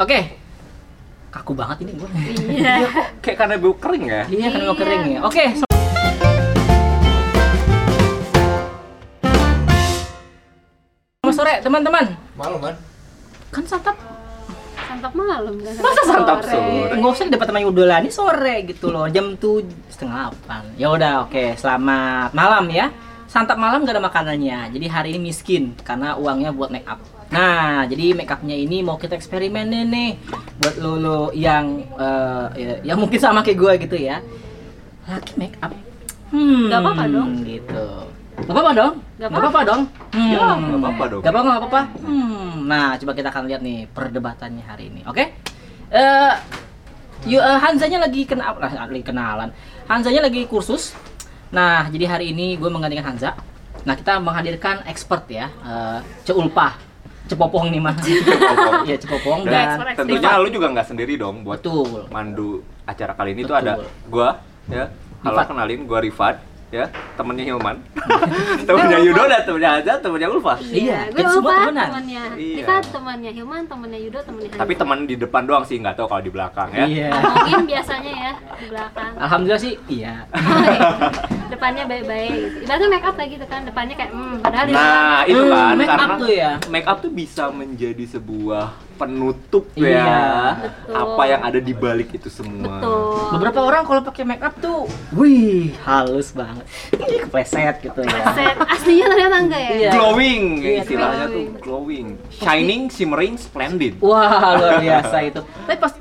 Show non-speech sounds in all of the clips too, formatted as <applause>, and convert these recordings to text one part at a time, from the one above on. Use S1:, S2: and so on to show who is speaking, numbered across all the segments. S1: Oke. Kaku banget ini gue.
S2: Iya.
S3: Iya kok kayak karena bau kering ya?
S1: <laughs> Iya kan mau kering ya. Oke. so- Selamat sore teman-teman.
S4: Malam kan?
S1: Kan santap
S2: Santap malam kan.
S1: Masa santap
S3: sore?
S1: nggak usah di depan teman udolani sore gitu loh jam tuh setengah delapan ya udah oke selamat malam ya santap malam gak ada makanannya jadi hari ini miskin karena uangnya buat make up nah jadi make upnya ini mau kita eksperimenin nih buat lo lo yang eh, ya, yang mungkin sama kayak gue gitu ya laki make up hmm
S2: Nggak apa-apa dong.
S1: gitu Gak apa-apa dong?
S2: Nggak
S1: Nggak apa-apa dong? Hmm.
S3: Ya, nggak apa-apa dong.
S1: Gak apa-apa, nggak apa-apa. Hmm. Nah, coba kita akan lihat nih perdebatannya hari ini, oke? Eh, Yo, eh, Hanzanya lagi kena ah, lagi kenalan. Hanzanya lagi kursus. Nah, jadi hari ini gue menggantikan Hanza. Nah, kita menghadirkan expert ya, eh, Ceulpa, Cepopong nih mah. Iya, Cepopong
S3: Dan
S1: dan
S2: expert,
S3: tentunya
S1: Rifat.
S3: lu juga nggak sendiri dong buat
S1: Betul.
S3: mandu acara kali ini tuh
S1: Betul.
S3: ada gua ya. Halo
S1: Rifat.
S3: kenalin gua Rifat ya, temennya
S1: <laughs>
S3: Hilman. <laughs> temennya Yudoda, temennya Azza, temennya Ulfa.
S1: Iya,
S2: gue
S1: kita semua
S2: lupa
S1: temenan.
S2: temannya.
S3: Iya.
S2: Kita temannya Hilman, temannya Yudo, temannya Hansa.
S3: Tapi teman di depan doang sih, nggak tahu kalau di belakang ya.
S1: Iya.
S2: Omongin biasanya ya di
S3: <laughs>
S2: belakang.
S1: Alhamdulillah sih, iya.
S2: Depannya baik-baik. Gitu. Ibaratnya make up lagi tuh kan, depannya kayak hmm, padahal di belakang.
S3: Nah, itu
S1: Hmm,
S3: kan
S1: make up
S3: karena
S1: tuh ya.
S3: Make up tuh bisa menjadi sebuah penutup
S1: Iya,
S3: ya.
S2: betul.
S3: Apa yang ada di balik itu semua.
S2: Betul.
S1: Beberapa orang kalau pakai make up tuh, wih, halus banget. Ini kepleset gitu ya.
S2: Set aslinya ternyata enggak ya?
S1: Iya.
S3: Glowing
S1: Iya,
S3: istilahnya
S2: glowing.
S3: tuh glowing, shining, shimmering, splendid.
S1: Wah, luar biasa itu. Tapi pas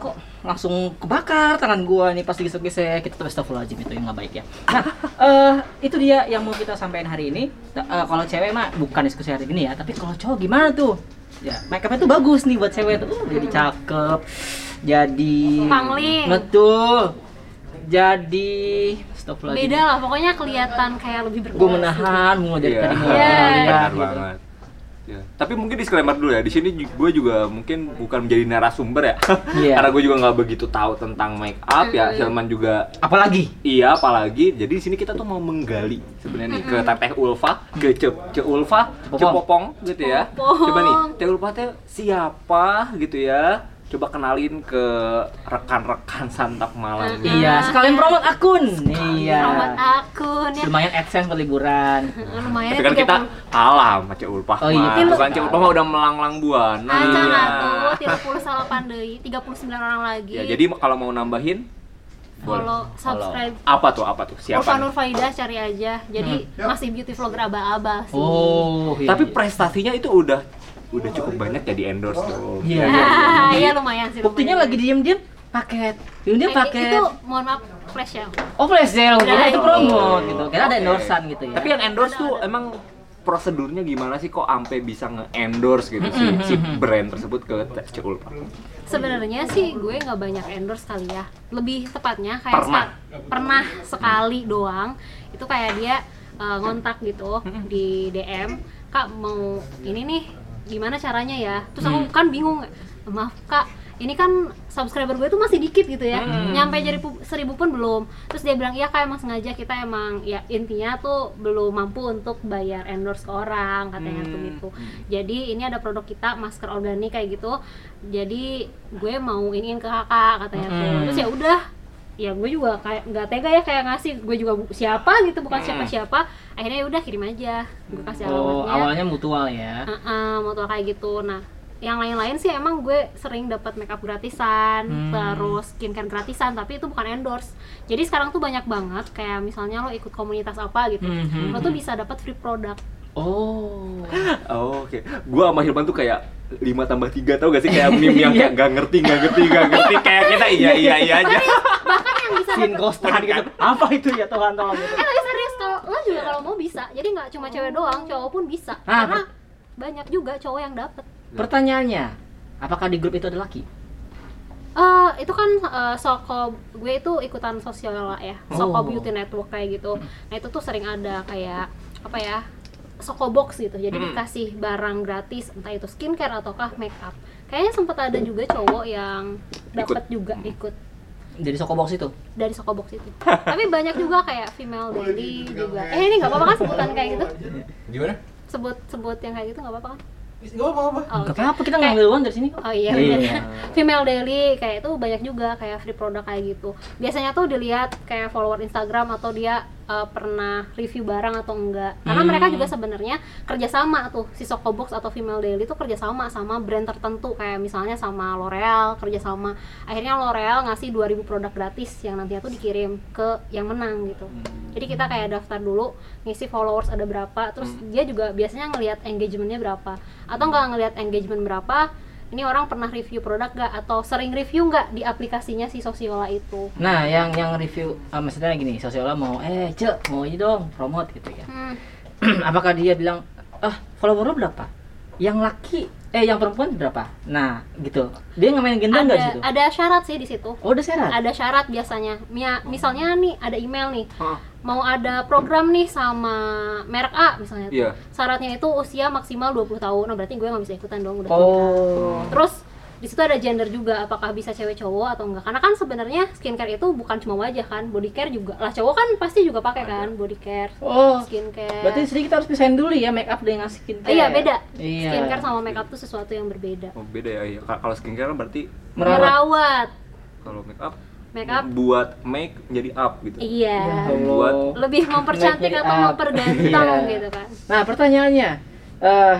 S1: kok langsung kebakar tangan gua nih pas digesek-gesek kita tuh astagfirullahaladzim itu yang nggak baik ya nah eh, itu dia yang mau kita sampaikan hari ini Ta- eh, kalau cewek mah bukan diskusi hari ini ya tapi kalau cowok gimana tuh ya make upnya tuh bagus nih buat cewek tuh Uh, jadi cakep jadi
S2: Pangling.
S1: betul jadi astagfirullahaladzim
S2: Beda lah, pokoknya kelihatan kayak lebih berkualitas.
S1: gue menahan mau dari <laughs>
S3: Iya,
S1: tadi mau
S2: Iya.
S3: benar
S1: gitu.
S3: banget. Ya. Tapi mungkin disclaimer dulu ya, di sini gue juga mungkin bukan menjadi narasumber ya,
S1: <laughs> Iya.
S3: karena gue juga nggak begitu tahu tentang make up ya.
S2: Mm.
S3: Hilman juga
S1: apalagi
S3: iya, apalagi jadi di sini kita tuh mau menggali sebenarnya nih ke teteh Ulfa, ke ce, ce Ulfa, ce
S1: Popong.
S3: Popong gitu ya.
S2: Popong.
S3: Coba nih, teh Ulfa teh siapa gitu ya? Coba kenalin ke rekan-rekan santap malam.
S2: Mm-mm.
S1: iya sekalian promote akun iya
S2: Rahmat akun ya.
S1: lumayan adsense buat liburan
S2: Lumayan.
S3: Tapi kan kita alam sama Ce Ulfa.
S1: Oh iya,
S3: mah.
S1: Tapi lu-
S3: bukan Ce Ulfa mah udah melanglang buana. Iya.
S2: Acara Ah, tuh 30 salapan deui, 39 orang lagi.
S3: Ya, jadi kalau mau nambahin boleh.
S2: follow, subscribe.
S3: Apa tuh? Apa tuh? Siapa?
S2: Urfa
S3: nih?
S2: Nurfaida cari aja. Jadi
S4: Hmm.
S2: masih beauty vlogger aba-aba sih.
S1: Oh, iya,
S3: Tapi
S1: iya.
S3: prestasinya itu udah udah cukup banyak ya di endorse tuh.
S1: Iya, iya.
S2: Ah, <laughs> iya lumayan sih.
S1: Buktinya
S2: lumayan.
S1: lagi diem-diem paket. Diem-diem
S2: Eh,
S1: paket.
S2: Itu mohon maaf flash ya.
S1: Oh, flash sale. Kira itu
S2: Iya.
S1: promo gitu. Kira ada
S3: Oke.
S1: endorsean gitu ya.
S3: Tapi yang endorse tuh emang prosedurnya gimana sih kok ampe bisa nge-endorse gitu sih si brand tersebut ke Ce Ulfa?
S2: Sebenarnya sih gue nggak banyak endorse kali ya. Lebih tepatnya kayak
S3: Pernah.
S2: sa- pernah sekali doang. Itu kayak dia uh, ngontak gitu di DM, "Kak, mau ini nih gimana caranya ya?" Terus aku kan bingung. "Maaf, Kak, ini kan subscriber gue tuh masih dikit gitu ya. Nyampe jadi pu- seribu pun belum." Terus dia bilang, "Iya, Kak, emang sengaja kita emang ya intinya tuh belum mampu untuk bayar endorse ke orang," katanya
S3: Mm.
S2: tuh gitu. Jadi ini ada produk kita masker organik kayak gitu. Jadi gue mau iniin ke kakak katanya tuh.
S1: Hmm.
S2: Terus ya udah, ya gue juga kayak nggak tega ya kayak ngasih gue juga bu- siapa gitu bukan
S3: Hmm.
S2: siapa-siapa. Akhirnya ya udah kirim aja. Gue kasih
S1: oh,
S2: alamatnya.
S1: awalnya mutual ya.
S2: Heeh, mutual kayak gitu. Nah, yang lain-lain sih emang gue sering dapat makeup gratisan,
S1: Hmm.
S2: terus skincare gratisan, tapi itu bukan endorse. Jadi sekarang tuh banyak banget kayak misalnya lo ikut komunitas apa gitu,
S1: Mhm.
S2: lo tuh bisa dapat free product.
S1: Oh.
S3: Oh, Oke, gua sama Hilman tuh kayak 5 tambah 3 tau gak sih kayak meme yang kayak gak ngerti, gak ngerti, gak ngerti kayak kita
S1: <laughs>
S3: iya iya iya aja.
S2: Bahkan yang bisa
S1: Sin ghostan gitu.
S2: <laughs>
S1: Apa itu ya Tuhan tolong gitu.
S2: Eh tapi serius kalau lo juga kalau mau bisa. Jadi nggak cuma cewek doang, cowok pun bisa.
S1: Ah,
S2: Karena banyak juga cowok yang dapet.
S1: Pertanyaannya, apakah di grup itu ada laki?
S2: Eh itu kan eh, soko gue itu ikutan sosial ya, soko
S1: Oh.
S2: beauty network kayak gitu. Nah itu tuh sering ada kayak apa ya? Soko box gitu. Jadi
S3: Hmm.
S2: dikasih barang gratis entah itu skincare ataukah make up. Kayaknya sempet ada juga cowok yang dapet juga ikut
S1: Jadi sokobox itu.
S2: dari soko box itu. Tapi banyak juga kayak female daily juga. Eh ini nggak apa-apa kan sebutan kayak gitu?
S4: Gimana?
S2: sebut sebut yang kayak gitu nggak apa-apa kan?
S4: Gak apa-apa.
S2: Oh,
S1: Gak
S2: oke.
S1: apa-apa kita
S2: Kayak-
S1: ngambil uang dari sini kok.
S2: Oh iya, bener. Female daily kayak itu banyak juga kayak free product kayak gitu. Biasanya tuh dilihat kayak follower Instagram atau dia uh, pernah review barang atau enggak. Karena
S1: Hmm.
S2: mereka juga sebenarnya kerjasama tuh si Sokobox atau Female Daily tuh kerjasama sama brand tertentu kayak misalnya sama L'Oreal kerjasama. Akhirnya L'Oreal ngasih 2000 produk gratis yang nantinya tuh dikirim ke yang menang gitu. Jadi kita kayak daftar dulu, ngisi followers ada berapa, terus
S1: Hmm.
S2: dia juga biasanya ngelihat engagementnya berapa, atau nggak ngelihat engagement berapa, ini orang pernah review produk nggak atau sering review nggak di aplikasinya si Sosiola itu.
S1: Nah, yang yang review eh, maksudnya gini, sosiola mau eh cek mau ini dong promote gitu ya.
S2: Hmm,
S1: <clears throat> Apakah dia bilang ah follower lu berapa? Yang laki eh yang perempuan berapa? Nah, gitu. Dia nggak main gendang nggak di
S2: ada
S1: situ?
S2: ada syarat sih di situ.
S1: Oh, udah syarat.
S2: Ada syarat biasanya. Mia- misalnya nih ada email nih,
S3: Hah?
S2: mau ada program nih sama merek A misalnya. tuh.
S3: Iya.
S2: Syaratnya itu usia maksimal 20 tahun. Nah, berarti gue nggak bisa ikutan dong udah nikah.
S1: Oh.
S2: Terus di situ ada gender juga, apakah bisa cewek cowok atau enggak? Karena kan sebenarnya skincare itu bukan cuma wajah kan, body care juga. Lah cowok kan pasti juga pakai kan body care,
S1: Oh.
S2: skincare. Eh,
S1: Berarti sering kita harus pisahin dulu ya make up dengan skincare.
S2: iya beda.
S1: Iya.
S2: Skincare sama makeup tuh sesuatu yang berbeda.
S3: Oh, beda ya. iya. Ka- Kalau skincare kan berarti
S1: Merawat.
S2: Merawat,
S3: kalau make up
S2: makeup.
S3: buat make jadi up gitu.
S1: Ya
S2: Iya.
S1: Allah.
S3: Buat
S2: Lebih
S1: Make
S2: mempercantik
S1: jadi
S2: atau
S1: up.
S2: mempergantang
S1: Iya.
S2: gitu kan.
S1: Nah, pertanyaannya eh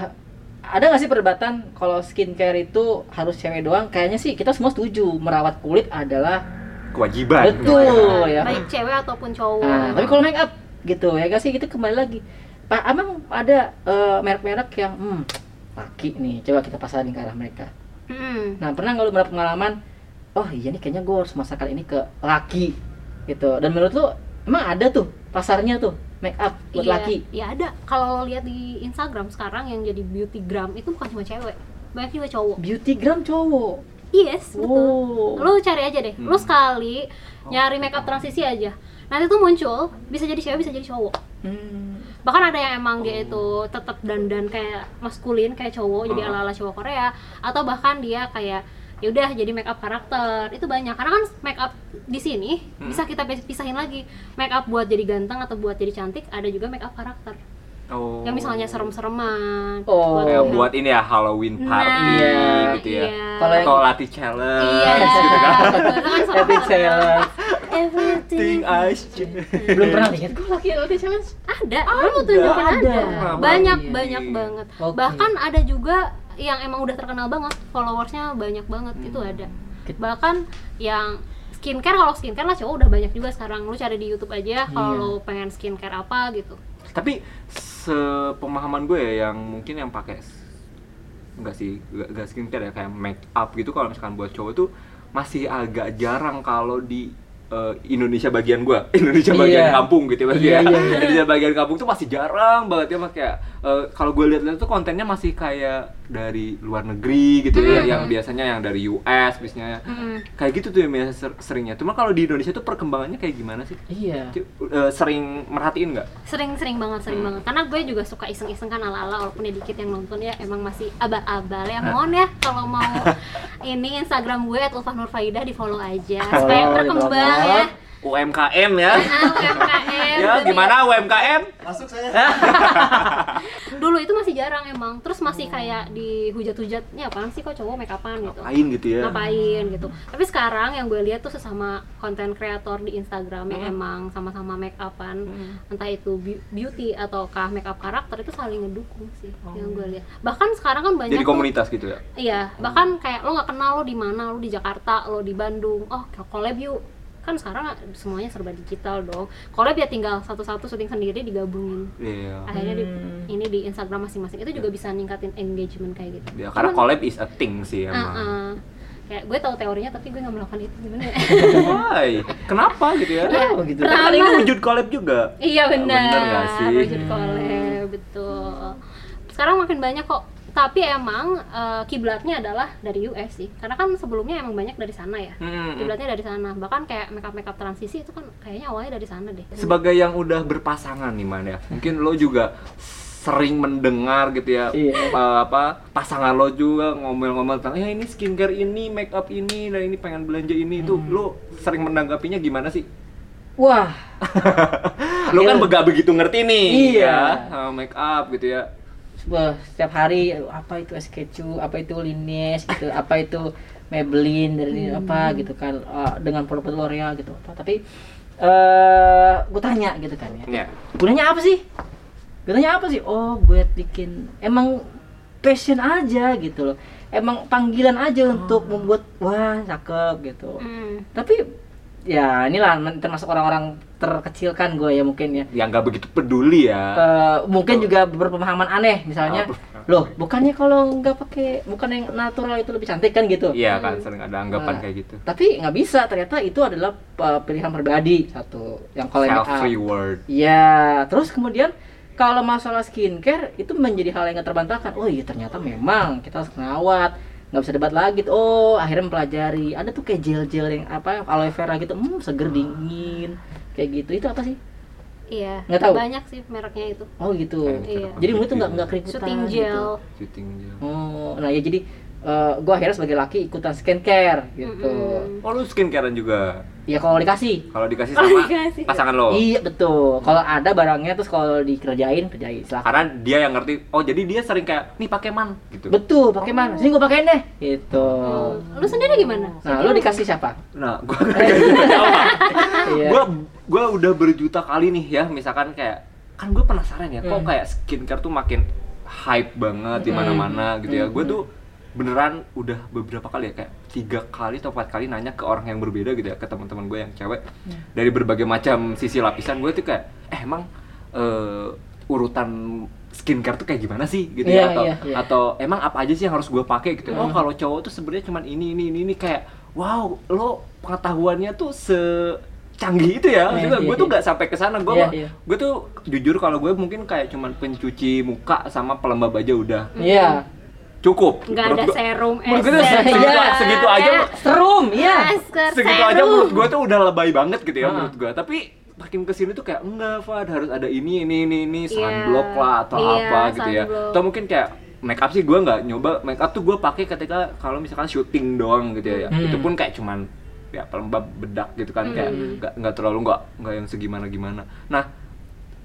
S1: ada nggak sih perdebatan kalau skincare itu harus cewek doang? Kayaknya sih kita semua setuju merawat kulit adalah
S3: kewajiban.
S1: betul ya.
S2: Baik cewek ataupun cowok.
S1: Nah, tapi kalau make up gitu ya gak sih kita kembali lagi. Pak, emang ada eh, merek-merek yang hmm, laki nih, coba kita pasarin ke arah mereka.
S2: Mm-mm.
S1: Nah, pernah nggak lu mendapat pengalaman? Oh iya nih, kayaknya gue harus masakkan ini ke laki gitu. Dan menurut lu emang ada tuh pasarnya tuh make up buat
S2: Iya,
S1: laki?
S2: Iya ada. Kalau lo lihat di Instagram sekarang yang jadi beautygram itu bukan cuma cewek, banyak juga cowok.
S1: Beautygram cowok.
S2: Yes, betul.
S1: Wow.
S2: Lo cari aja deh. Lo
S3: Hmm. Oh.
S2: sekali nyari makeup transisi aja. Nanti tuh muncul bisa jadi cewek, bisa jadi cowok.
S1: Hmm.
S2: Bahkan ada yang emang dia itu tetap dandan kayak maskulin kayak cowok, jadi
S3: Ah.
S2: ala-ala cowok Korea atau bahkan dia kayak ya udah jadi make up karakter itu banyak karena kan make up di sini
S3: Hmm.
S2: bisa kita pis- pisahin lagi make up buat jadi ganteng atau buat jadi cantik ada juga make up karakter
S3: Oh.
S2: yang misalnya serem-sereman Nah,
S1: Oh.
S3: Kayak buat ini ya Halloween party
S1: Nah,
S3: gitu ya.
S2: iya.
S1: Kalau yang-
S3: Atau latih challenge gitu
S2: iya
S3: kan.
S2: betul, itu kan
S1: Happy
S2: serem-sereman.
S1: challenge.
S2: everything
S3: Ting ice
S1: Belum pernah
S2: Iya,
S1: lihat gue laki laki challenge.
S2: ada gue mau tunjukin
S1: Ada.
S2: ada,
S1: Ada.
S2: banyak
S1: Iya.
S2: banyak banget
S1: Oke.
S2: bahkan ada juga yang emang udah terkenal banget followersnya banyak banget
S1: Hmm.
S2: itu ada
S1: Kita-
S2: bahkan yang skincare kalau skincare lah cowok udah banyak juga sekarang lu cari di YouTube aja kalau
S1: Iya.
S2: lu pengen skincare apa gitu
S3: Tapi sepemahaman gue ya yang mungkin yang pakai s- enggak sih, enggak, enggak skincare ya kayak make up gitu kalau misalkan buat cowok tuh masih agak jarang kalau di eh, Indonesia bagian gua, <laughs> Indonesia
S1: Iya.
S3: bagian kampung gitu ya pasti
S1: Iya,
S3: ya.
S1: iya, iya.
S3: Indonesia bagian kampung tuh masih jarang banget ya mas kayak eh, kalau gue lihat-lihat tuh kontennya masih kayak dari luar negeri gitu ya,
S1: Hmm.
S3: yang biasanya yang dari US biasanya
S2: Mm.
S3: kayak gitu tuh yang biasa ser- seringnya. Cuma kalau di Indonesia tuh perkembangannya kayak gimana sih?
S1: Iya.
S3: Ci- eh, sering merhatiin nggak?
S2: sering-sering banget sering
S3: Hmm.
S2: banget karena gue juga suka iseng-iseng kan ala-ala walaupun ya dikit yang nonton ya emang masih abal-abal
S3: Hmm.
S2: ya mohon ya kalau mau
S3: <laughs>
S2: ini Instagram gue at Nurfaidah di follow aja supaya
S1: Follow,
S2: berkembang
S1: di-follow.
S2: ya
S3: UMKM ya.
S2: Nah, UMKM gitu
S3: ya,
S2: dunia.
S3: gimana UMKM?
S4: Masuk saya.
S2: dulu itu masih jarang emang terus masih
S3: Hmm.
S2: kayak dihujat-hujatnya apaan sih kok cowok make upan gitu
S3: Lain gitu ya.
S2: ngapain gitu tapi sekarang yang gue lihat tuh sesama konten kreator di Instagram yang emang sama-sama make upan entah itu be- beauty ataukah make up karakter itu saling ngedukung sih yang gue lihat bahkan sekarang kan banyak
S3: Oh. Jadi
S2: tuh-
S3: komunitas gitu ya.
S2: iya bahkan kayak lo nggak kenal lo di mana lo di Jakarta lo di Bandung oh collab yuk kan sekarang semuanya serba digital dong collab ya tinggal satu-satu syuting sendiri digabungin
S3: Iya.
S2: akhirnya di-
S1: Hmm.
S2: ini di Instagram masing-masing itu juga bisa ningkatin engagement kayak gitu.
S3: Ya, Iya. karena
S2: Cuman,
S3: collab is a thing sih emang.
S2: uh-uh. kayak gue tahu teorinya tapi gue nggak melakukan itu gimana ya? <laughs>
S3: Why? Kenapa gitu ya?
S1: Oh, begitu.
S3: Tapi kan ini wujud collab juga.
S2: iya benar.
S3: Bener nggak sih? Hmm.
S2: Wujud collab, betul. Sekarang makin banyak kok. Tapi emang eh, kiblatnya adalah dari US sih. Karena kan sebelumnya emang banyak dari sana ya.
S3: Hmm.
S2: Kiblatnya dari sana. Bahkan kayak makeup makeup transisi itu kan kayaknya awalnya dari sana deh.
S3: Sebagai yang udah berpasangan nih man ya, mungkin lo juga sering mendengar gitu ya
S1: Iya.
S3: eh, apa pasangan lo juga ngomel-ngomel tentang ya ini skincare ini make up ini dan ini pengen belanja ini itu lo sering menanggapinya gimana sih
S1: Wah,
S3: lo kan
S1: Iya.
S3: <laughs> gak kan begitu ngerti nih
S1: Iya.
S3: ya, eh, make up gitu ya
S1: Wah, setiap hari aduh, apa itu es keju, apa itu Lines gitu, apa itu Maybelline dari apa gitu kan eh, dengan produk-produk L'Oreal gitu apa. Tapi eh gue tanya gitu kan ya.
S3: Iya.
S1: Gunanya apa sih? Gunanya apa sih? Oh, buat bikin emang passion aja gitu loh. Emang panggilan aja untuk membuat wah cakep gitu.
S2: Hmm.
S1: Tapi ya inilah men- termasuk orang-orang terkecilkan gue ya mungkin ya.
S3: Yang nggak begitu peduli ya.
S1: Eh, mungkin juga berpemahaman aneh misalnya
S3: Ah,
S1: loh bukannya kalau nggak pakai bukan yang natural itu lebih cantik kan gitu
S3: Iya kan sering ada anggapan
S1: Nah,
S3: kayak gitu.
S1: tapi nggak bisa ternyata itu adalah uh, pilihan pribadi satu yang kalau yang
S3: Self reward.
S1: ya terus kemudian kalau masalah skincare itu menjadi hal yang nggak terbantahkan oh iya ternyata memang kita harus ngawat nggak bisa debat lagi tuh. oh akhirnya mempelajari ada tuh kayak gel gel yang apa aloe vera gitu hmm seger dingin kayak gitu itu apa sih
S2: Iya.
S1: Nggak tahu.
S2: Banyak sih mereknya itu.
S1: oh gitu
S2: Iya.
S1: jadi mulut tuh nggak nggak keriputan
S2: Shooting
S1: gitu.
S2: gel.
S3: Shooting gel.
S1: Oh, nah ya jadi gue akhirnya sebagai laki ikutan skincare gitu.
S2: Mm-mm.
S3: Oh lu skincarean juga.
S1: Ya kalau dikasih.
S3: Kalau dikasih
S2: Oh,
S3: sama
S2: dikasih.
S3: pasangan lo.
S1: Iya betul. Kalau ada barangnya terus kalau dikerjain kerjain silakan.
S3: Karena dia yang ngerti. Oh jadi dia sering kayak nih pakai man gitu.
S1: Betul, pakai mana? Sini gue pakein deh. Gitu.
S2: Hmm. Lu sendiri gimana?
S1: Nah, lu dikasih
S2: <laughs>
S1: siapa?
S3: Nah, gua
S1: <laughs>
S3: gua
S1: Iya.
S3: gua gua udah berjuta kali nih ya, misalkan kayak kan gue penasaran ya, kok
S1: Hmm.
S3: kayak skincare tuh makin hype banget di
S1: Hmm.
S3: mana-mana gitu ya.
S1: Hmm.
S3: Gue tuh beneran udah beberapa kali ya kayak tiga kali atau empat kali nanya ke orang yang berbeda gitu ya ke teman-teman gue yang cewek
S1: Hmm.
S3: dari berbagai macam sisi lapisan gue tuh kayak eh, emang eh, urutan skincare tuh kayak gimana sih gitu
S1: Iya,
S3: ya atau
S1: iya, iya.
S3: atau emang apa aja sih yang harus gue pakai gitu
S1: Hmm.
S3: oh kalau cowok tuh sebenarnya cuman ini ini ini ini kayak wow lo pengetahuannya tuh secanggih itu ya
S1: Iya,
S3: juga
S1: iya,
S3: gue tuh
S1: iya.
S3: nggak sampai ke sana gue
S1: Iya, iya.
S3: gue tuh jujur kalau gue mungkin kayak cuman pencuci muka sama pelembab aja udah
S1: Iya.
S3: cukup
S2: Nggak
S3: Menurut
S2: ada
S3: gua-
S2: serum,
S3: menurut gue tuh
S2: es,
S3: segitu,
S1: iya.
S3: segitu aja
S2: Iya.
S1: Serum, iya.
S2: Masker,
S3: segitu aja
S2: serum.
S3: menurut gue tuh udah lebay banget gitu ya
S1: Ah.
S3: menurut gue tapi makin kesini tuh kayak enggak Fad harus ada ini ini ini ini
S2: Iya.
S3: sunblock lah atau
S2: Iya,
S3: apa gitu ya
S2: sunblock.
S3: atau mungkin kayak make up sih gue nggak nyoba make up tuh gue pakai ketika kalau misalkan syuting doang gitu ya
S1: Hmm.
S3: itu pun kayak cuman ya pelembab bedak gitu kan kayak
S1: Mm-hmm.
S3: nggak nggak terlalu nggak nggak yang segimana gimana nah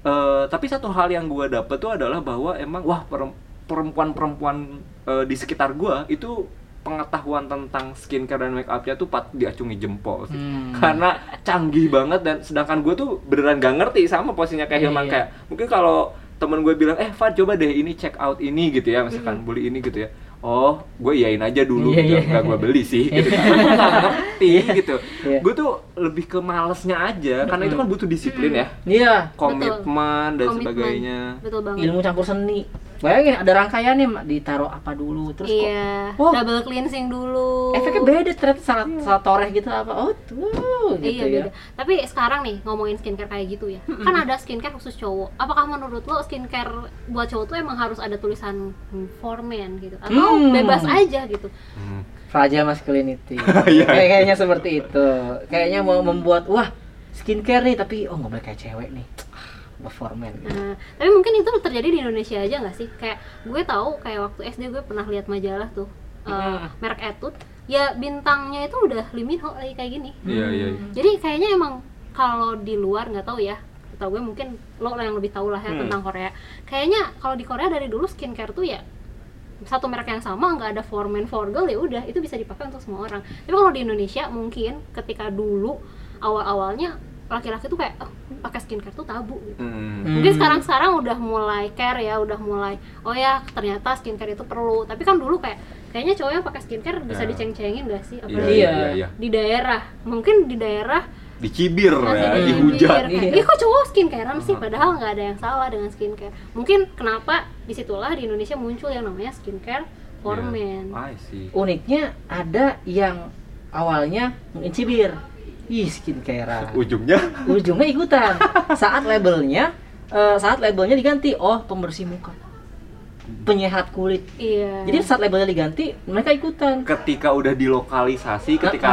S3: eh, tapi satu hal yang gue dapet tuh adalah bahwa emang wah perem- perempuan-perempuan eh, di sekitar gue itu pengetahuan tentang skincare dan make upnya tuh pat diacungi jempol sih
S1: Hmm.
S3: karena canggih banget dan sedangkan gue tuh beneran gak ngerti sama posisinya kayak
S1: Iya,
S3: Hilman
S1: iya.
S3: kayak mungkin kalau temen gue bilang eh Fad coba deh ini check out ini gitu ya misalkan
S1: Mm-hmm.
S3: beli ini gitu ya oh gue iyain aja dulu
S1: Iya,
S3: gitu
S1: iya.
S3: nggak gue beli
S1: <laughs>
S3: sih gitu Karena nggak ngerti gitu
S1: Iya.
S3: gue tuh lebih ke malesnya aja karena itu kan butuh disiplin ya
S1: Iya.
S3: komitmen dan
S2: Komitmen.
S3: sebagainya
S2: Betul banget.
S1: Ilmu campur seni. Bayangin ada rangkaiannya, Mak. ditaruh apa dulu, terus kok
S2: iya.
S1: Oh.
S2: Double cleansing dulu.
S1: efeknya beda ternyata salah salah toreh gitu apa oh tuh gitu
S2: iya
S1: ya
S2: beda. Tapi sekarang nih ngomongin skincare kayak gitu ya, kan ada skincare khusus cowok. Apakah menurut lo skincare buat cowok tuh emang harus ada tulisan hmm, for men gitu, atau
S1: Hmm.
S2: bebas aja gitu?
S1: Mm.
S3: Hmm.
S1: Fragile masculinity.
S3: <laughs> Iya.
S1: Kayak- kayaknya seperti itu. Kayaknya mau membuat wah skincare nih tapi oh nggak boleh kayak cewek nih. Ah, Performan.
S2: Nah, tapi mungkin itu terjadi di Indonesia aja nggak sih? Kayak gue tahu kayak waktu SD gue pernah lihat majalah tuh eh,
S1: Hmm.
S2: merek Etude, ya bintangnya itu udah liminal lagi kayak gini.
S3: iya iya iya.
S2: Jadi kayaknya emang kalau di luar nggak tahu ya, tau gue mungkin lo yang lebih tahu lah ya
S3: Hmm.
S2: tentang Korea. Kayaknya kalau di Korea dari dulu skincare tuh ya satu merek yang sama nggak ada for men for girl ya udah itu bisa dipakai untuk semua orang. Tapi kalau di Indonesia mungkin ketika dulu awal-awalnya laki-laki tuh kayak "Ah, pakai skincare tuh tabu gitu.
S3: Hmm.
S1: Hmm.
S2: Mungkin sekarang-sekarang udah mulai care ya, udah mulai oh ya ternyata skincare itu perlu. Tapi kan dulu kayak kayaknya cowok yang pakai skincare bisa
S3: Ya.
S2: diceng-cengin gak sih?
S3: iya
S2: Apalagi
S1: Iya.
S3: iya iya
S2: di daerah. Mungkin di daerah
S3: dicibir ya
S2: masih
S3: dihujat
S2: dipikir kayak,
S1: Iya.
S2: Ih kok cowok skincarean sih?
S3: Hmm.
S2: Padahal nggak ada yang salah dengan skincare. Mungkin kenapa disitulah di Indonesia muncul yang namanya skincare for
S3: Iya.
S2: men.
S3: I see
S1: Uniknya ada yang awalnya mengincibir. Ih skincare.
S3: ujungnya
S1: Ujungnya ikutan. Saat labelnya eh, saat labelnya diganti oh pembersih muka. Penyehat kulit.
S2: Iya.
S1: Jadi saat labelnya diganti mereka ikutan.
S3: ketika udah dilokalisasi
S1: Uh-uh.
S3: ketika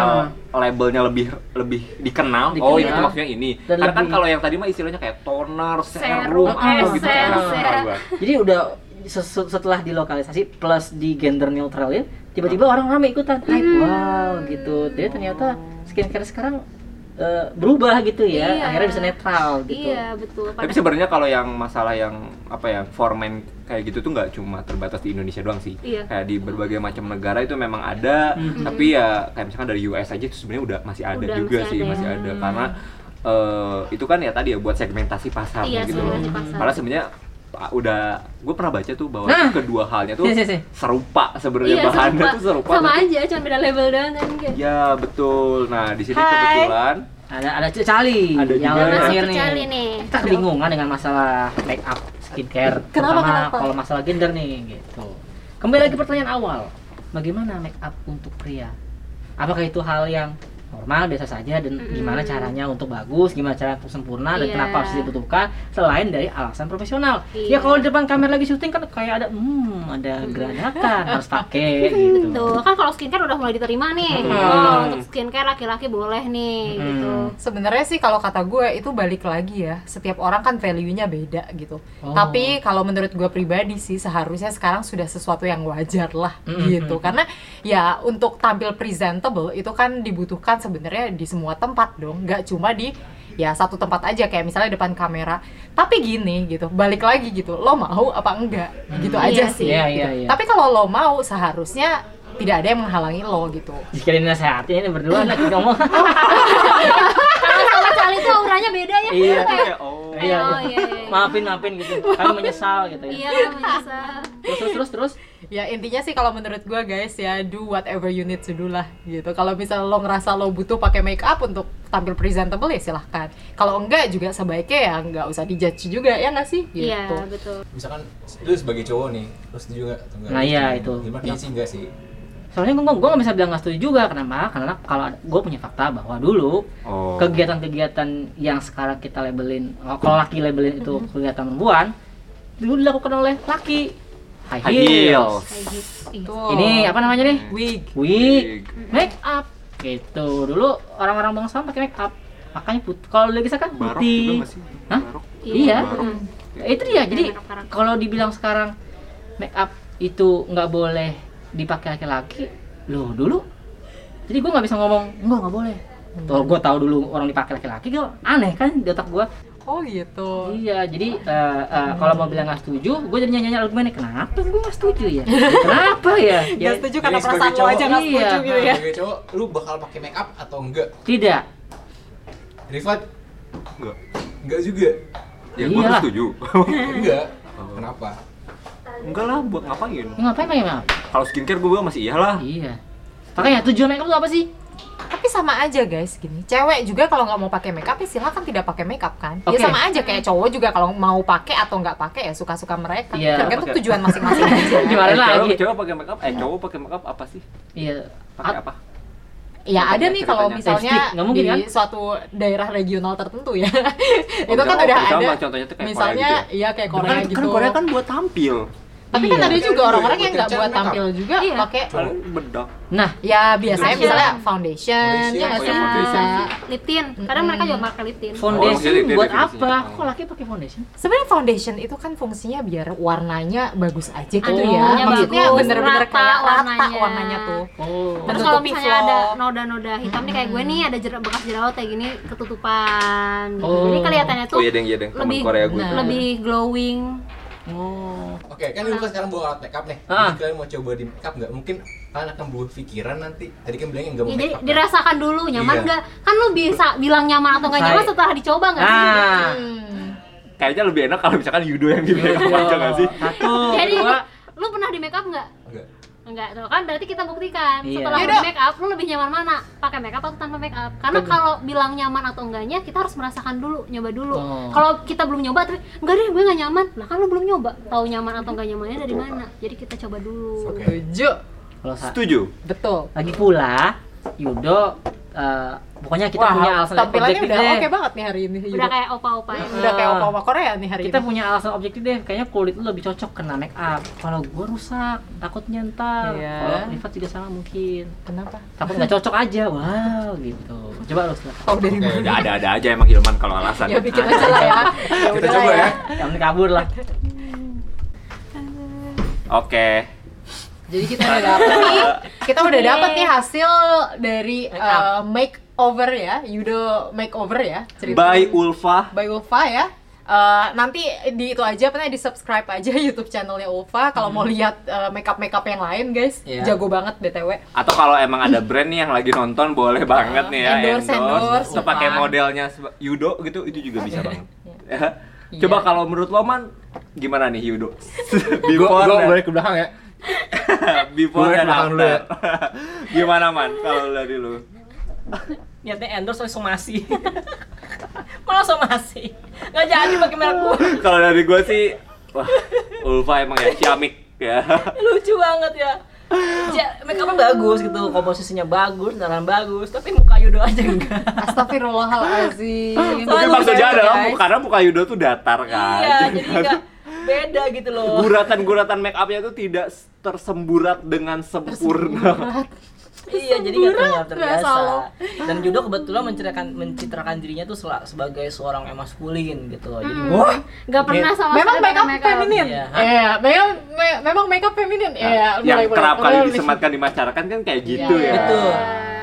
S3: labelnya lebih lebih dikenal,
S1: Dikenal.
S3: oh itu maksudnya ini
S1: Dan
S3: karena kan
S1: lebih-
S3: kalau yang tadi mah istilahnya kayak toner serum
S2: Serum,
S3: apa gitu kan
S1: essence,
S3: Nah,
S2: ya.
S1: Jadi udah sesu- setelah dilokalisasi plus di gender ya,
S2: Hmm.
S1: neutralin, tiba-tiba orang ramai ikutan hype. Wow, gitu. Jadi ternyata skincare sekarang eh, berubah gitu ya
S2: Iya.
S1: akhirnya bisa netral gitu
S2: Iya betul.
S3: Tapi
S2: Pada-
S3: sebenarnya kalau yang masalah yang apa ya foreman kayak gitu tuh nggak cuma terbatas di Indonesia doang sih.
S2: Iya.
S3: Kayak di berbagai macam negara itu memang ada,
S1: Mhm.
S3: tapi ya kayak misalkan dari US aja itu sebenarnya udah masih ada
S2: Udah,
S3: juga
S2: masih
S3: sih,
S2: ada ya.
S3: masih ada karena eh, itu kan ya tadi ya buat segmentasi pasar
S2: Iya,
S3: gitu loh.
S2: segmentasi pasar.
S3: Karena sebenarnya ah, udah gue pernah baca tuh bahwa
S1: Nah.
S3: kedua halnya tuh
S1: Iya, iya, iya.
S3: serupa sebenarnya
S2: Iya
S3: ya, bahannya
S2: serupa.
S3: tuh serupa.
S2: Sama
S3: tapi-
S2: aja, cuma beda label doang kan kayak.
S3: Ya betul. Nah di sini
S1: Hai.
S3: kebetulan
S1: ada ada cecali
S3: Ada
S1: yang
S3: juga
S2: Ada
S3: ya.
S2: masih
S1: terakhir
S2: kecali
S1: nih
S2: nih.
S1: kita kebingungan dengan masalah make up skincare
S2: Kenapa,
S1: terutama
S2: kenapa?
S1: kalau masalah gender nih gitu kembali lagi pertanyaan awal bagaimana make up untuk pria apakah itu hal yang normal biasa saja dan
S2: Mm-mm.
S1: gimana caranya untuk bagus gimana cara untuk sempurna dan
S2: Iya.
S1: kenapa harus dibutuhkan selain dari alasan profesional ya
S2: Iya.
S1: kalau di depan kamera lagi syuting kan kayak ada hmm ada
S2: <laughs>
S1: geranakan harus pakai gitu
S2: Tuh, kan kalau skincare udah mulai diterima nih.
S1: Hmm.
S2: Oh, untuk skincare laki-laki boleh nih
S1: Hmm.
S2: gitu.
S4: Sebenarnya sih kalau kata gue itu balik lagi ya. Setiap orang kan value-nya beda gitu.
S1: Oh.
S4: Tapi kalau menurut gue pribadi sih seharusnya sekarang sudah sesuatu yang wajar lah
S1: Mm-mm.
S4: gitu. Karena ya untuk tampil presentable itu kan dibutuhkan sebenarnya di semua tempat dong. Nggak cuma di ya satu tempat aja kayak misalnya depan kamera. Tapi gini gitu, balik lagi gitu. Lo mau apa enggak? Gitu
S2: Hmm.
S4: aja
S2: Iya
S4: sih.
S1: sih. Iya,
S4: gitu.
S1: iya, iya.
S4: Tapi kalau lo mau seharusnya tidak ada yang menghalangi lo gitu.
S1: jika dinasehatin ini
S2: <laughs>
S1: berdua lagi ngomong
S2: Kalau sama cali itu auranya beda ya.
S1: Iya.
S2: Kayak,
S3: Kayak, oh.
S1: Iya,
S2: Oh,
S1: iya.
S2: iya, iya.
S1: maafin maafin gitu kami menyesal gitu ya
S2: Iya, menyesal.
S1: terus terus terus terus
S4: Ya intinya sih kalau menurut gua guys ya do whatever you need to do lah gitu. Kalau misalnya lo ngerasa lo butuh pakai make up untuk tampil presentable ya silahkan. Kalau enggak juga sebaiknya ya nggak usah dijudge juga ya nggak sih gitu.
S2: Iya, betul.
S5: misalkan lu sebagai cowok nih lu setuju nggak atau nggak?
S1: Nah, iya, itu.
S5: gimana iya sih enggak sih
S1: soalnya gue gue nggak bisa bilang nggak setuju juga kenapa karena kalau gue punya fakta bahwa dulu
S3: Oh.
S1: kegiatan-kegiatan yang sekarang kita labelin oh, kalau laki labelin itu kegiatan perempuan dulu dilakukan oleh laki high
S3: High
S1: heels
S3: heels.
S2: Kayak gitu. Iya.
S4: Tuh.
S1: ini apa namanya nih
S4: Oh. wig?
S1: wig make up gitu dulu orang-orang bangsa pakai make up makanya put- kalau lagi sekarang
S3: Barok
S1: putih
S3: juga masih.
S1: Hah?
S3: Barok.
S1: Iya.
S3: Barok.
S1: Ya, itu dia. Jadi
S2: Make up karakter.
S1: kalau dibilang sekarang make up itu nggak boleh dipakai laki-laki, loh dulu. Jadi gue nggak bisa ngomong enggak nggak boleh. Tuh gue tahu dulu orang dipakai laki-laki, gue aneh kan di otak gue.
S4: Oh gitu.
S1: Iya, jadi eh, eh, kalau mau bilang nggak setuju, gue jadi nyanyi argumennya kenapa gue nggak setuju ya? Kenapa ya?
S4: Nggak
S1: Ya,
S4: setuju
S5: Jadi
S4: karena
S5: sebagai
S4: perasaan lo
S5: cowok,
S4: aja nggak
S1: iya.
S4: setuju gitu ya.
S5: sebagai cowok lu bakal pakai make up atau enggak
S1: Tidak.
S5: Rifat
S3: Enggak.
S5: enggak juga
S3: Ya gue
S1: Iyalah.
S3: setuju. <laughs>
S5: enggak
S3: Oh.
S5: kenapa
S3: Enggak lah, buat ngapain?
S1: Ya, ngapain pakai make up?
S3: Kalau skincare gue masih iyalah.
S1: Iya. Makanya tujuan make up itu apa sih?
S4: Tapi sama aja guys gini. Cewek juga kalau nggak mau pakai make up ya silahkan tidak pakai make up kan.
S1: Oke.
S4: Ya sama aja kayak cowok juga kalau mau pakai atau nggak pakai ya suka-suka mereka.
S1: Iya.
S4: Tergantung tujuan masing-masing
S1: <laughs>
S4: aja. kan?
S1: Gimana
S3: Eh, cewek,
S1: lagi?
S3: cewek pakai makeup, eh cowok pakai makeup apa sih?
S1: Iya.
S3: Pakai apa?
S4: Ya ada nih kalau
S3: Ceritanya.
S4: misalnya
S1: Lipstick, nggak mungkin,
S4: di
S1: kan?
S4: suatu daerah regional tertentu ya.
S3: Oh,
S4: itu kan
S3: misalnya-
S4: udah
S3: oh, misalnya
S4: ada.
S3: contohnya tuh kayak
S4: misalnya
S3: Korea ya.
S4: iya kayak
S3: Bukan,
S4: Korea gitu.
S3: kan Korea kan buat tampil.
S4: Tapi
S1: Iya.
S4: kan ada juga orang-orang yang nggak
S5: Iya.
S4: buat tampil juga
S2: Iya.
S4: pakai
S3: Paling bedak.
S1: Nah,
S4: ya biasanya
S2: Foundation.
S4: misalnya foundation, ya nggak
S5: Foundation,
S4: sih?
S2: Iya.
S3: foundation sih.
S2: Lip tint. Kadang mereka juga pakai lip
S3: Oh,
S2: tint.
S3: maksudnya
S1: foundation
S3: dia
S1: buat apa?
S3: definisinya. Oh.
S1: Kok laki pakai foundation?
S4: Sebenarnya foundation itu kan fungsinya biar warnanya bagus aja gitu
S1: Aduh,
S4: ya.
S1: warnanya
S4: Maksudnya
S1: bagus,
S4: bener-bener
S2: rata
S4: kayak rata
S2: warnanya.
S4: warnanya tuh.
S1: Oh.
S2: Terus
S4: Menutupi
S2: kalau misalnya
S4: flaw.
S2: ada noda-noda hitam nih kayak gue nih ada jera- bekas jerawat kayak gini ketutupan. gitu.
S1: Oh.
S2: Jadi kelihatannya tuh
S3: Oh iya deng, iya deng. Temen
S2: lebih
S3: Korea gue. Iya,
S4: Nah.
S2: lebih glowing.
S1: Oh.
S5: Oke, kan lu kan sekarang bawa alat make up nih.
S1: Ah.
S5: Jadi kalian mau coba di make up nggak? Mungkin kalian akan berubah pikiran nanti. Tadi kan bilangnya nggak
S2: Ya,
S5: mau
S2: jadi
S5: make up.
S2: dirasakan dulu nyaman
S5: Iya.
S2: nggak? Kan lu bisa bilang nyaman atau nggak
S1: Saya-
S2: nyaman setelah dicoba nggak sih?
S1: Nah.
S3: Kayaknya lebih enak kalau misalkan Yudo yang di makeup aja nggak sih?
S1: Satu,
S2: Jadi
S1: dua.
S2: lu pernah di make up nggak?
S5: kan? Enggak.
S2: Enggak, tuh kan berarti kita buktikan
S1: Iya.
S2: setelah
S4: Yaudah.
S2: di make up lu lebih nyaman mana? Pakai make up atau tanpa make up? Karena
S1: Tuh.
S2: kalau bilang nyaman atau enggaknya kita harus merasakan dulu, nyoba dulu.
S1: Oh.
S2: Kalau kita belum nyoba tapi enggak deh gue enggak nyaman. Lah kan lu belum nyoba, tahu nyaman atau enggak nyamannya dari mana? Jadi kita coba dulu.
S5: Oke.
S4: Setuju.
S1: Kalau sa-
S3: Setuju.
S4: Betul.
S1: lagi pula Yudo eh, pokoknya kita
S4: Wah,
S1: punya alasan yang
S4: tampilannya
S1: objektif
S4: udah
S1: deh.
S4: oke banget nih hari ini.
S2: Udah kayak opa-opa ya.
S4: udah kayak opa-opa Korea nih hari
S1: kita
S4: ini.
S1: punya alasan objektif deh. Kayaknya kulit lu lebih cocok kena make up. Kalau gua rusak, takutnya ntar.
S4: Iya.
S1: Kalau Rifat juga sama mungkin.
S4: Kenapa?
S1: Takut nggak cocok aja. Wow, gitu. Coba lu silakan.
S4: Tahu dari
S5: Oke,
S4: mana?
S3: Ya ada-ada aja emang Hilman kalau alasan.
S4: Ya bikin aja lah ya. Ya
S5: Kita
S4: udah
S5: coba
S4: lah
S5: ya.
S4: ya.
S1: Jangan kabur lah.
S3: Oke.
S4: Jadi kita udah dapet nih, kita udah dapet nih hasil dari
S1: Makeup.
S4: eh, makeover ya, Yudo makeover ya. cerita
S3: By Ulfa.
S4: by Ulfa ya. Eh, nanti di itu aja, pokoknya di subscribe aja YouTube channelnya Ulfa kalau mau
S3: Hmm.
S4: lihat makeup makeup yang lain guys,
S1: Iya.
S4: jago banget btw.
S3: Atau kalau emang ada brand nih yang lagi nonton boleh banget nih ya
S4: Endorse, endorse,
S3: Atau pakai
S4: Ulfa.
S3: modelnya seba- Yudo gitu itu juga bisa banget. Ya.
S4: Iya.
S3: <laughs> Coba kalau menurut lo man gimana nih
S5: <laughs>
S3: Yudo?
S5: Gue
S3: before dan,
S5: balik ke belakang ya.
S3: <laughs> before
S5: Gua
S3: dan
S5: makan dulu
S3: after.
S5: ya.
S3: <laughs> gimana man kalau dari lu?
S1: Niatnya endorse oleh somasi. Malah somasi. Nggak jadi pakai merek gua.
S3: Kalau dari gue sih wah Ulfa emang ya ciamik ya.
S1: Lucu banget ya. Ja- Make up bagus gitu, komposisinya bagus, naran bagus, tapi muka Yudo aja enggak.
S4: Astagfirullahalazim.
S1: Soalnya
S3: <laughs> Mungkin
S1: Malu
S3: maksudnya
S1: banget,
S3: adalah
S1: guys.
S3: karena muka Yudo tuh datar kan.
S1: iya,
S3: <laughs>
S1: jadi enggak beda gitu loh.
S3: Guratan-guratan make upnya tuh tidak s- tersemburat dengan sempurna. Nah,
S1: Iya, jadi nggak terlihat
S4: berasa
S1: terbiasa.
S4: lo.
S1: Dan Judo kebetulan mencitrakan mencitrakan dirinya tuh sel- sebagai seorang yang maskulin gitu. Jadi wah,
S2: Gak Hmm. pernah sama
S4: Memang
S2: sekali
S4: makeup
S2: pakai makeup.
S4: feminin.
S1: Iya.
S4: Iya, memang me- memang makeup feminin. Iya,
S3: yang
S4: mulai- mulai-
S3: kerap kali
S4: mulai-
S3: disematkan di masyarakat kan kayak gitu
S4: Iya,
S3: ya.
S1: betul.
S2: Nah,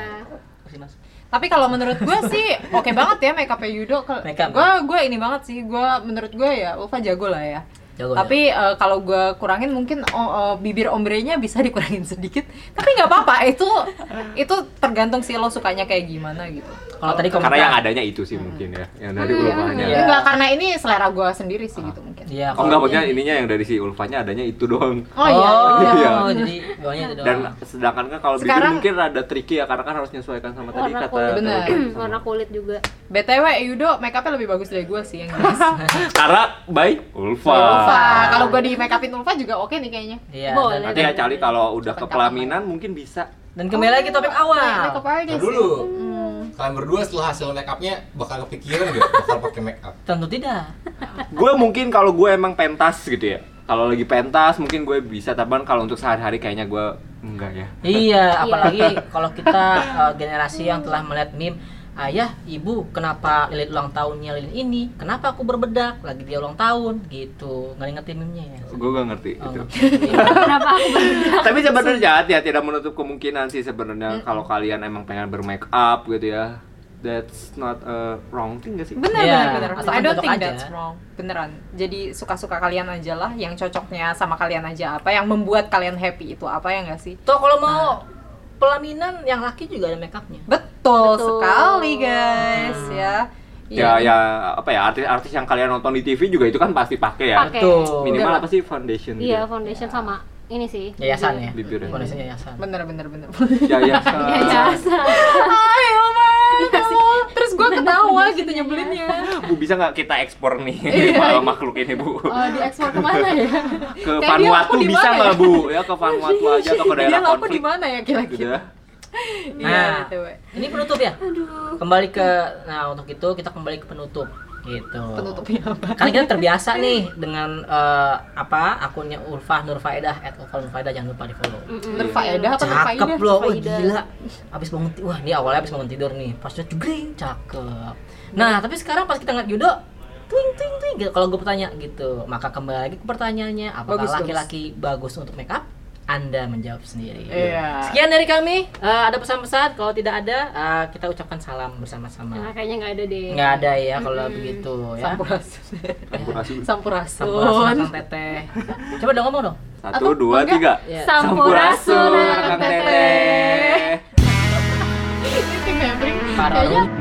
S1: Kasih Mas.
S4: Tapi kalau menurut gue sih oke banget ya makeupnya Yudo.
S1: Makeup.
S4: Gue gue ini banget sih. Gue menurut gue ya Ulfa jago lah ya.
S1: Jago,
S4: Tapi eh, kalau gue kurangin mungkin oh, eh, bibir ombrenya bisa <laughs> dikurangin sedikit. Tapi nggak apa-apa. Itu itu tergantung sih lo sukanya kayak gimana gitu.
S1: Kalau tadi komentar
S3: Karena yang adanya itu
S4: Iya.
S3: sih mungkin ya, yang dari Ulfanya.
S1: Iya.
S4: Enggak karena ini selera gue sendiri sih gitu mungkin.
S1: Iya,
S3: Oh enggak, maksudnya ininya yang dari si Ulfanya adanya itu doang.
S4: Oh iya.
S1: Oh,
S4: iya.
S3: iya.
S1: jadi bawahnya itu doang.
S3: Dan sedangkan kan kalau bibir
S4: Sekarang-
S3: mungkin rada tricky ya karena kan harus menyesuaikan sama tadi
S2: Warna
S3: kata.
S2: kulit.
S4: Bener.
S3: sama-
S2: Hmm, warna kulit juga.
S4: BTW Yudo makeupnya lebih bagus dari gue sih yang
S5: <laughs>
S4: jelas.
S3: Karena by Ulfa.
S4: Ulfa. Kalau gue di makeupin Ulfa juga oke nih kayaknya.
S1: Iya.
S2: Boleh.
S1: Dan,
S3: Nanti ya cari kalau udah ke pelaminan mungkin bisa.
S1: dan kembali lagi topik
S4: Makeup
S1: awal.
S5: Nah,
S4: artist.
S5: dulu
S4: Hmm.
S5: kalian berdua setelah hasil make upnya bakal kepikiran gak bakal pakai make up?
S1: Tentu tidak.
S3: gue mungkin kalau gue emang pentas gitu ya kalau lagi pentas mungkin gue bisa taban kalau untuk sehari-hari kayaknya gue enggak ya
S1: Iya, apalagi kalau kita eh, generasi yang telah melihat meme Ayah, ibu, kenapa lilin ulang tahunnya lilin ini? Kenapa aku berbedak? Lagi dia ulang tahun, gitu. Nggak ngerti meme-nya ya?
S3: gue gak ngerti
S1: Oh,
S3: gitu.
S1: ngerti.
S2: Kenapa aku berbeda?
S3: tapi sebenarnya ya tidak menutup kemungkinan sih sebenarnya kalau kalian emang pengen bermake up gitu ya that's not a wrong thing gak sih
S4: Bener,
S1: Iya,
S4: bener, bener.
S1: asalkan
S4: I don't
S1: cocok
S4: think
S1: aja.
S4: that's wrong. Beneran. Jadi suka-suka kalian aja lah, yang cocoknya sama kalian aja apa, yang membuat kalian happy itu apa ya nggak sih?
S1: Toh kalau mau pelaminan yang laki juga ada make upnya.
S4: Betul,
S2: Betul.
S4: sekali guys ya.
S3: ya ya apa ya artis-artis yang kalian nonton di TV juga itu kan pasti pakai ya
S2: Pakai.
S3: minimal apa sih foundation gitu ya?
S2: Iya, foundation sama ini sih.
S1: Yayasan ya.
S3: Bibir ya.
S1: Foundation yayasan.
S4: Bener, bener, <laughs> bener.
S3: ya ya
S2: Iya, Yayasan.
S4: Ayo man, Iya terus gue ketawa gitu nyebelinnya.
S3: bu bisa nggak kita ekspor nih <laughs> makhluk ini bu
S4: Oh, diekspor kemana ya?
S3: ke
S4: Kayak dia
S3: Vanuatu
S4: laku di
S3: bisa
S4: mana
S3: nggak
S4: ya?
S3: bu ya ke Vanuatu aja atau ke
S4: <laughs> Dia
S3: daerah
S4: laku di
S3: konflik
S4: mana ya
S3: gitu
S4: kira-kira?
S3: ya
S1: Nah.
S4: Iya, BTW.
S1: Ini penutup ya? Kembali ke nah untuk itu kita kembali ke penutup gitu.
S4: penutupnya apa?
S1: Karena kita terbiasa nih dengan eh, apa akunnya Urfah Nurfaedah at Urfah Nurfaedah jangan lupa di follow.
S4: Berfaedah apa
S1: Cakep
S4: berfaedah?
S1: loh, wah
S2: Faidah.
S1: gila. Abis bangun ti- wah ini awalnya abis bangun tidur nih, pas lihat jegring, cakep. Nah tapi sekarang pas kita ngeliat Yudo, twing twing twing, gitu. kalau gue bertanya gitu, maka kembali lagi ke pertanyaannya, apakah
S4: Bagus, bagus.
S1: laki-laki bagus untuk make up? Anda menjawab sendiri.
S4: Iya.
S1: Sekian dari kami. Eh, ada pesan-pesan? Kalau tidak ada, eh, kita ucapkan salam bersama-sama.
S2: Nah, kayaknya nggak ada deh.
S1: Nggak ada ya kalau begitu ya.
S4: Sampurasun.
S3: Sampurasun.
S4: Sampurasun.
S1: Sampurasun, Kang Teteh. Coba dong ngomong dong.
S3: satu dua tiga
S1: Ya.
S2: Sampurasun, Kang Teteh.
S4: Ini tim membering.
S1: Para
S4: Kayaknya-
S1: lu.